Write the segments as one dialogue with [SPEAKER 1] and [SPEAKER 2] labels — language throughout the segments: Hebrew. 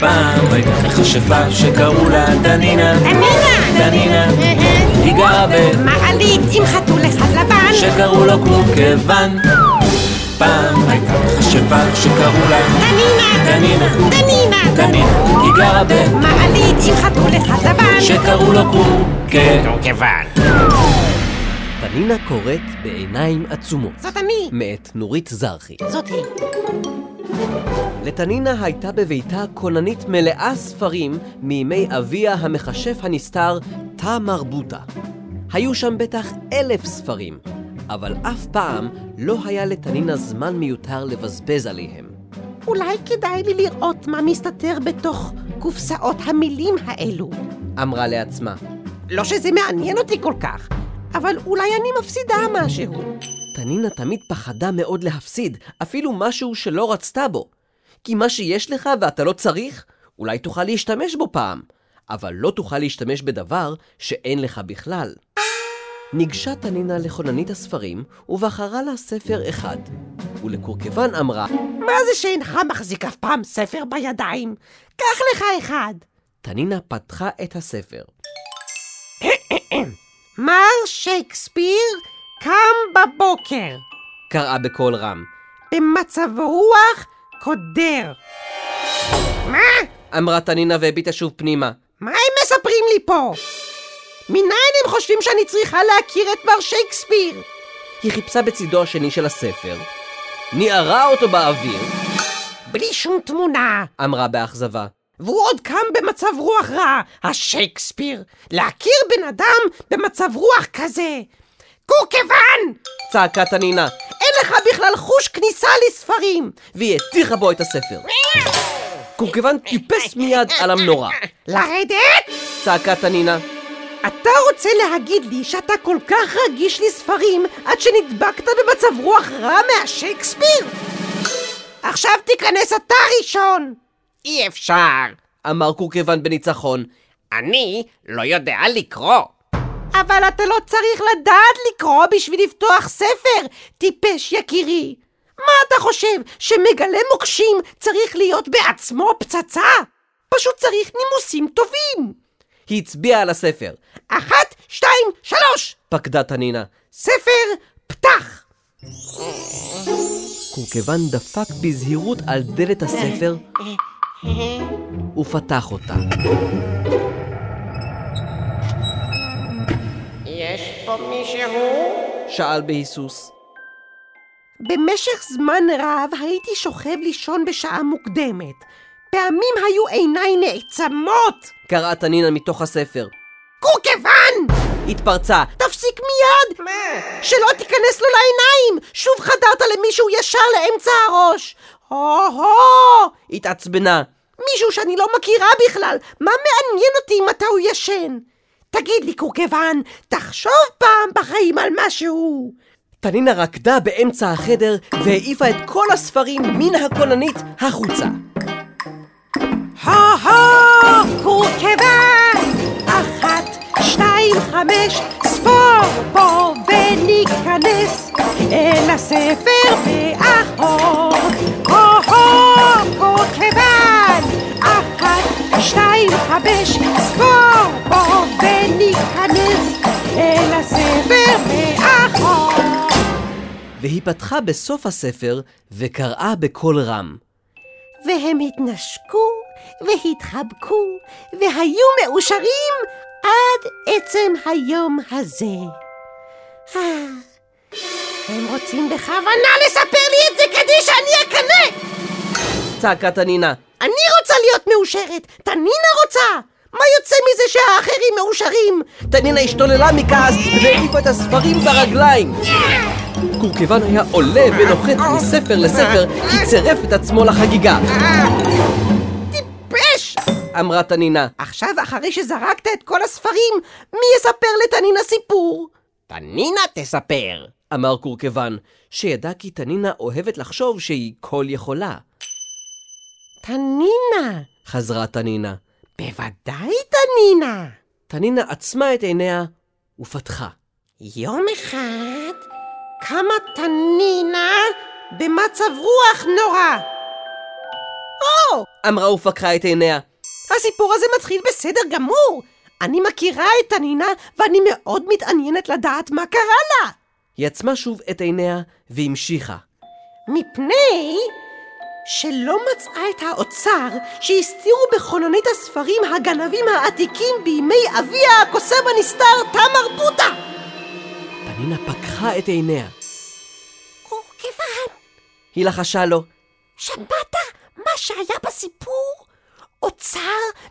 [SPEAKER 1] פעם הייתה חשבה שקראו לה דנינה.
[SPEAKER 2] דנינה!
[SPEAKER 1] דנינה.
[SPEAKER 2] אהה.
[SPEAKER 1] היא גרה
[SPEAKER 2] לא. אה, מעלית עם חתול אחד לבן.
[SPEAKER 1] שקראו לו קורקוון. פעם הייתה חשבה שקראו לה
[SPEAKER 2] דנינה!
[SPEAKER 1] דנינה.
[SPEAKER 2] דנינה!
[SPEAKER 1] דנינה. היא גרה ב...
[SPEAKER 2] מעלית עם חתול אחד לבן.
[SPEAKER 1] שקראו לו קורקוון.
[SPEAKER 3] פנינה קוראת בעיניים עצומות,
[SPEAKER 2] זאת אני.
[SPEAKER 3] מאת נורית זרחי.
[SPEAKER 2] זאת היא.
[SPEAKER 3] לתנינה הייתה בביתה כוננית מלאה ספרים מימי אביה המכשף הנסתר, תא מרבוטה. היו שם בטח אלף ספרים, אבל אף פעם לא היה לתנינה זמן מיותר לבזבז עליהם.
[SPEAKER 2] אולי כדאי לי לראות מה מסתתר בתוך קופסאות המילים האלו.
[SPEAKER 3] אמרה לעצמה,
[SPEAKER 2] לא שזה מעניין אותי כל כך, אבל אולי אני מפסידה משהו.
[SPEAKER 3] תנינה תמיד פחדה מאוד להפסיד, אפילו משהו שלא רצתה בו. כי מה שיש לך ואתה לא צריך, אולי תוכל להשתמש בו פעם, אבל לא תוכל להשתמש בדבר שאין לך בכלל. ניגשה תנינה לכוננית הספרים, ובחרה לה ספר אחד. ולקורקבן אמרה,
[SPEAKER 2] מה זה שאינך מחזיק אף פעם ספר בידיים? קח לך אחד.
[SPEAKER 3] תנינה פתחה את הספר.
[SPEAKER 2] מר שייקספיר קם בבוקר,
[SPEAKER 3] קראה בקול רם.
[SPEAKER 2] במצב רוח קודר. מה?
[SPEAKER 3] אמרה תנינה והביטה שוב פנימה.
[SPEAKER 2] מה הם מספרים לי פה? מניין הם חושבים שאני צריכה להכיר את מר שייקספיר?
[SPEAKER 3] היא חיפשה בצידו השני של הספר, ניערה אותו באוויר,
[SPEAKER 2] בלי שום תמונה.
[SPEAKER 3] אמרה באכזבה.
[SPEAKER 2] והוא עוד קם במצב רוח רע, השייקספיר. להכיר בן אדם במצב רוח כזה. קורקוון!
[SPEAKER 3] צעקה תנינה,
[SPEAKER 2] אין לך בכלל חוש כניסה לספרים!
[SPEAKER 3] והיא הטיחה בו את הספר. קורקבן טיפס מיד על המנורה.
[SPEAKER 2] לרדת?
[SPEAKER 3] צעקה תנינה,
[SPEAKER 2] אתה רוצה להגיד לי שאתה כל כך רגיש לספרים עד שנדבקת במצב רוח רע מהשייקספיר? עכשיו תיכנס אתה ראשון!
[SPEAKER 4] אי אפשר.
[SPEAKER 3] אמר קורקבן בניצחון.
[SPEAKER 4] אני לא יודע לקרוא.
[SPEAKER 2] אבל אתה לא צריך לדעת לקרוא בשביל לפתוח ספר, טיפש יקירי. מה אתה חושב, שמגלה מוקשים צריך להיות בעצמו פצצה? פשוט צריך נימוסים טובים.
[SPEAKER 3] היא הצביעה על הספר.
[SPEAKER 2] אחת, שתיים, שלוש!
[SPEAKER 3] פקדה תנינה.
[SPEAKER 2] ספר פתח!
[SPEAKER 3] קורקבן דפק בזהירות על דלת הספר
[SPEAKER 2] אה,
[SPEAKER 3] ופתח אותה.
[SPEAKER 4] יש פה מישהו?
[SPEAKER 3] שאל בהיסוס.
[SPEAKER 2] במשך זמן רב הייתי שוכב לישון בשעה מוקדמת. פעמים היו עיניי נעצמות!
[SPEAKER 3] קראה תנינה מתוך הספר.
[SPEAKER 2] קורקוון!
[SPEAKER 3] התפרצה.
[SPEAKER 2] תפסיק מיד! מה? שלא תיכנס לו לעיניים! שוב חדרת למישהו ישר לאמצע הראש! הו-הו!
[SPEAKER 3] התעצבנה.
[SPEAKER 2] מישהו שאני לא מכירה בכלל! מה מעניין אותי מתי הוא ישן? תגיד לי, קורקוון, תחשוב פעם בחיים על משהו!
[SPEAKER 3] תנינה רקדה באמצע החדר והעיפה את כל הספרים מן הכוננית החוצה.
[SPEAKER 2] הו-הו! קורקוון! אחת, שתיים, חמש, ספור פה וניכנס אל הספר מאחור. הו-הו! קורקוון! אחת, שתיים, חמש, ספור פה וניכנס אל הספר מאחור.
[SPEAKER 3] והיא פתחה בסוף הספר וקראה בקול רם.
[SPEAKER 2] והם התנשקו והתחבקו והיו מאושרים עד עצם היום הזה. אה, הם רוצים בכוונה לספר לי את זה כדי שאני אקנא!
[SPEAKER 3] צעקה תנינה.
[SPEAKER 2] אני רוצה להיות מאושרת, תנינה רוצה! מה יוצא מזה שהאחרים מאושרים?
[SPEAKER 3] תנינה השתוללה מכעס והעיפה את הספרים ברגליים. קורקבן היה עולה ונוחת מספר לספר כי צירף את עצמו לחגיגה,
[SPEAKER 2] פש!
[SPEAKER 3] אמרה תנינה.
[SPEAKER 2] עכשיו, אחרי שזרקת את כל הספרים, מי יספר לתנינה סיפור?
[SPEAKER 4] תנינה תספר.
[SPEAKER 3] אמר קורקבן, שידע כי תנינה אוהבת לחשוב שהיא כל יכולה.
[SPEAKER 2] תנינה!
[SPEAKER 3] חזרה תנינה.
[SPEAKER 2] בוודאי תנינה!
[SPEAKER 3] תנינה עצמה את עיניה ופתחה.
[SPEAKER 2] יום אחד קמה תנינה במצב רוח נורא. או, לא!
[SPEAKER 3] אמרה ופקחה את עיניה.
[SPEAKER 2] הסיפור הזה מתחיל בסדר גמור. אני מכירה את הנינה, ואני מאוד מתעניינת לדעת מה קרה לה.
[SPEAKER 3] היא עצמה שוב את עיניה והמשיכה.
[SPEAKER 2] מפני שלא מצאה את האוצר שהסתירו בחוננית הספרים הגנבים העתיקים בימי אביה הקוסם הנסתר תמר בוטה.
[SPEAKER 3] פנינה פקחה את עיניה.
[SPEAKER 2] אורכבן,
[SPEAKER 3] היא לחשה לו.
[SPEAKER 2] שמעת מה שהיה בסיפור? אוצר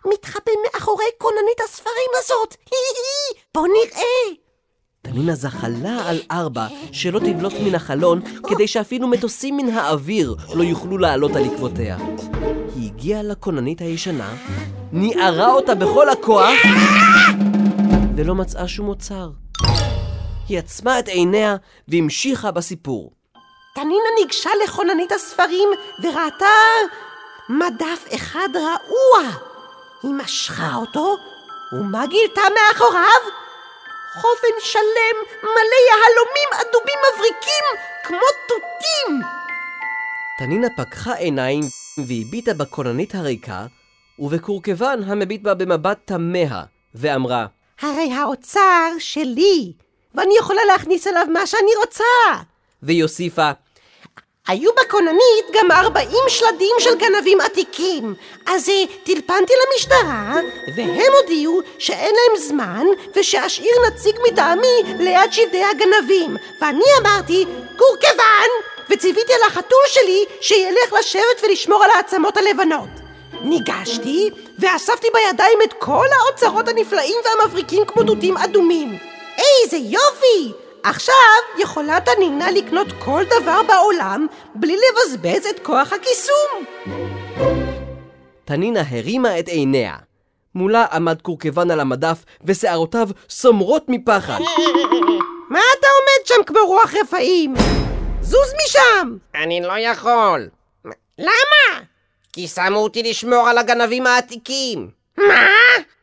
[SPEAKER 2] מתחבא מאחורי כוננית הספרים הזאת. בוא נראה.
[SPEAKER 3] פנינה זחלה על ארבע שלא תבלוט מן החלון כדי שאפילו מטוסים מן האוויר לא יוכלו לעלות על עקבותיה. היא הגיעה לכוננית הישנה, ניערה אותה בכל הכוח ולא מצאה שום אוצר. היא עצמה את עיניה והמשיכה בסיפור.
[SPEAKER 2] תנינה ניגשה לכוננית הספרים וראתה מדף אחד רעוע. היא משכה אותו, ומה גילתה מאחוריו? חופן שלם מלא יהלומים אדומים מבריקים כמו תותים!
[SPEAKER 3] תנינה פקחה עיניים והביטה בכוננית הריקה, ובקורקבן המביט בה במבט תמה, ואמרה,
[SPEAKER 2] הרי האוצר שלי, ואני יכולה להכניס אליו מה שאני רוצה.
[SPEAKER 3] והיא הוסיפה,
[SPEAKER 2] היו בכוננית גם 40 שלדים של גנבים עתיקים. אז אה, טלפנתי למשטרה, והם הודיעו שאין להם זמן, ושאשאיר נציג מטעמי ליד שלדי הגנבים. ואני אמרתי, קורקוון! וציוויתי על החתול שלי שילך לשבת ולשמור על העצמות הלבנות. ניגשתי, ואספתי בידיים את כל האוצרות הנפלאים והמבריקים כמו דודים אדומים. איזה יופי! עכשיו יכולה תנינה לקנות כל דבר בעולם בלי לבזבז את כוח הקיסום.
[SPEAKER 3] תנינה הרימה את עיניה. מולה עמד קורקבן על המדף, ושערותיו סומרות מפחד.
[SPEAKER 2] מה אתה עומד שם כמו רוח רפאים? זוז משם!
[SPEAKER 4] אני לא יכול. למה? כי שמו אותי לשמור על הגנבים העתיקים.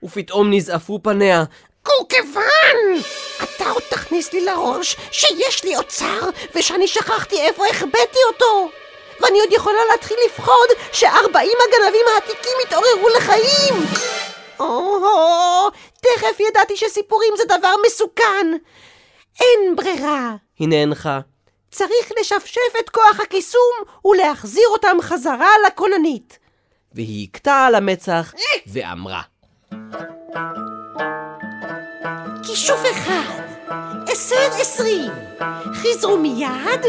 [SPEAKER 3] ופתאום נזעפו פניה.
[SPEAKER 2] קורקוון! אתה עוד תכניס לי לראש שיש לי אוצר ושאני שכחתי איפה החבאתי אותו! ואני עוד יכולה להתחיל לפחוד שארבעים הגנבים העתיקים יתעוררו לחיים! או-הו, תכף ידעתי שסיפורים זה דבר מסוכן! אין ברירה,
[SPEAKER 3] היא נאנחה.
[SPEAKER 2] צריך לשפשף את כוח הקיסום ולהחזיר אותם חזרה לכוננית.
[SPEAKER 3] והיא הכתה על המצח,
[SPEAKER 4] אה!
[SPEAKER 3] ואמרה.
[SPEAKER 2] כישוף אחד, עשר עשרים, חזרו מיד,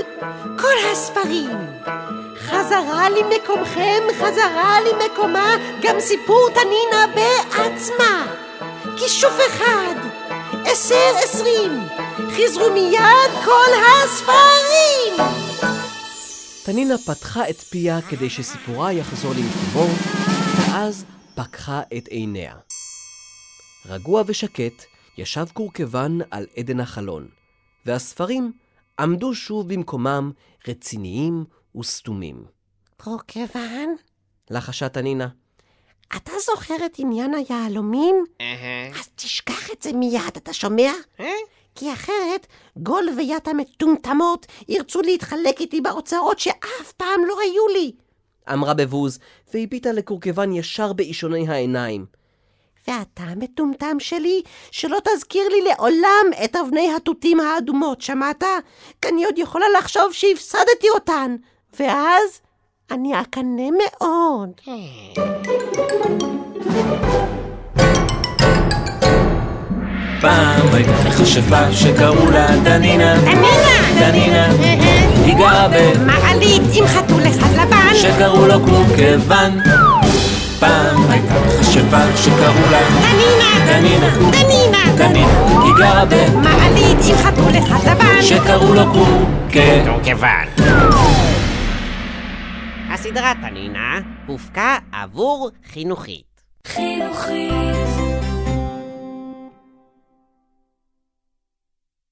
[SPEAKER 2] כל הספרים. חזרה למקומכם, חזרה למקומה, גם סיפור תנינה בעצמה. כישוף אחד, עשר עשרים, חזרו מיד כל הספרים!
[SPEAKER 3] תנינה פתחה את פיה כדי שסיפורה יחזור למקומו, ואז פקחה את עיניה. רגוע ושקט, ישב קורקבן על עדן החלון, והספרים עמדו שוב במקומם רציניים וסתומים.
[SPEAKER 2] פרוקוון,
[SPEAKER 3] לחשה תנינה.
[SPEAKER 2] אתה זוכר את עניין היהלומים?
[SPEAKER 4] אהה.
[SPEAKER 2] אז תשכח את זה מיד, אתה שומע?
[SPEAKER 4] אה?
[SPEAKER 2] כי אחרת גול ויאט המטומטמות ירצו להתחלק איתי באוצרות שאף פעם לא היו לי.
[SPEAKER 3] אמרה בבוז, והביטה לקורקבן ישר באישוני העיניים.
[SPEAKER 2] ואתה, מטומטם שלי, שלא תזכיר לי לעולם את אבני התותים האדומות, שמעת? כי אני עוד יכולה לחשוב שהפסדתי אותן. ואז אני אקנא מאוד.
[SPEAKER 1] פעם הייתה מכשפה שקראו לה דנינה.
[SPEAKER 2] דנינה!
[SPEAKER 1] דנינה. היא גרה ב...
[SPEAKER 2] מעלית עם חתול אחד לבן!
[SPEAKER 1] שקראו לו קורקבן. פעם הייתה מכשפה שקראו לה...
[SPEAKER 2] דנינה!
[SPEAKER 1] דנינה.
[SPEAKER 2] דנינה!
[SPEAKER 1] דנינה. היא גרה ב...
[SPEAKER 2] מעלית עם חתול אחד לבן!
[SPEAKER 1] שקראו לו קורקבן.
[SPEAKER 4] כמובן. הסדרה תנינה הופקה אה? עבור חינוכית.
[SPEAKER 5] חינוכית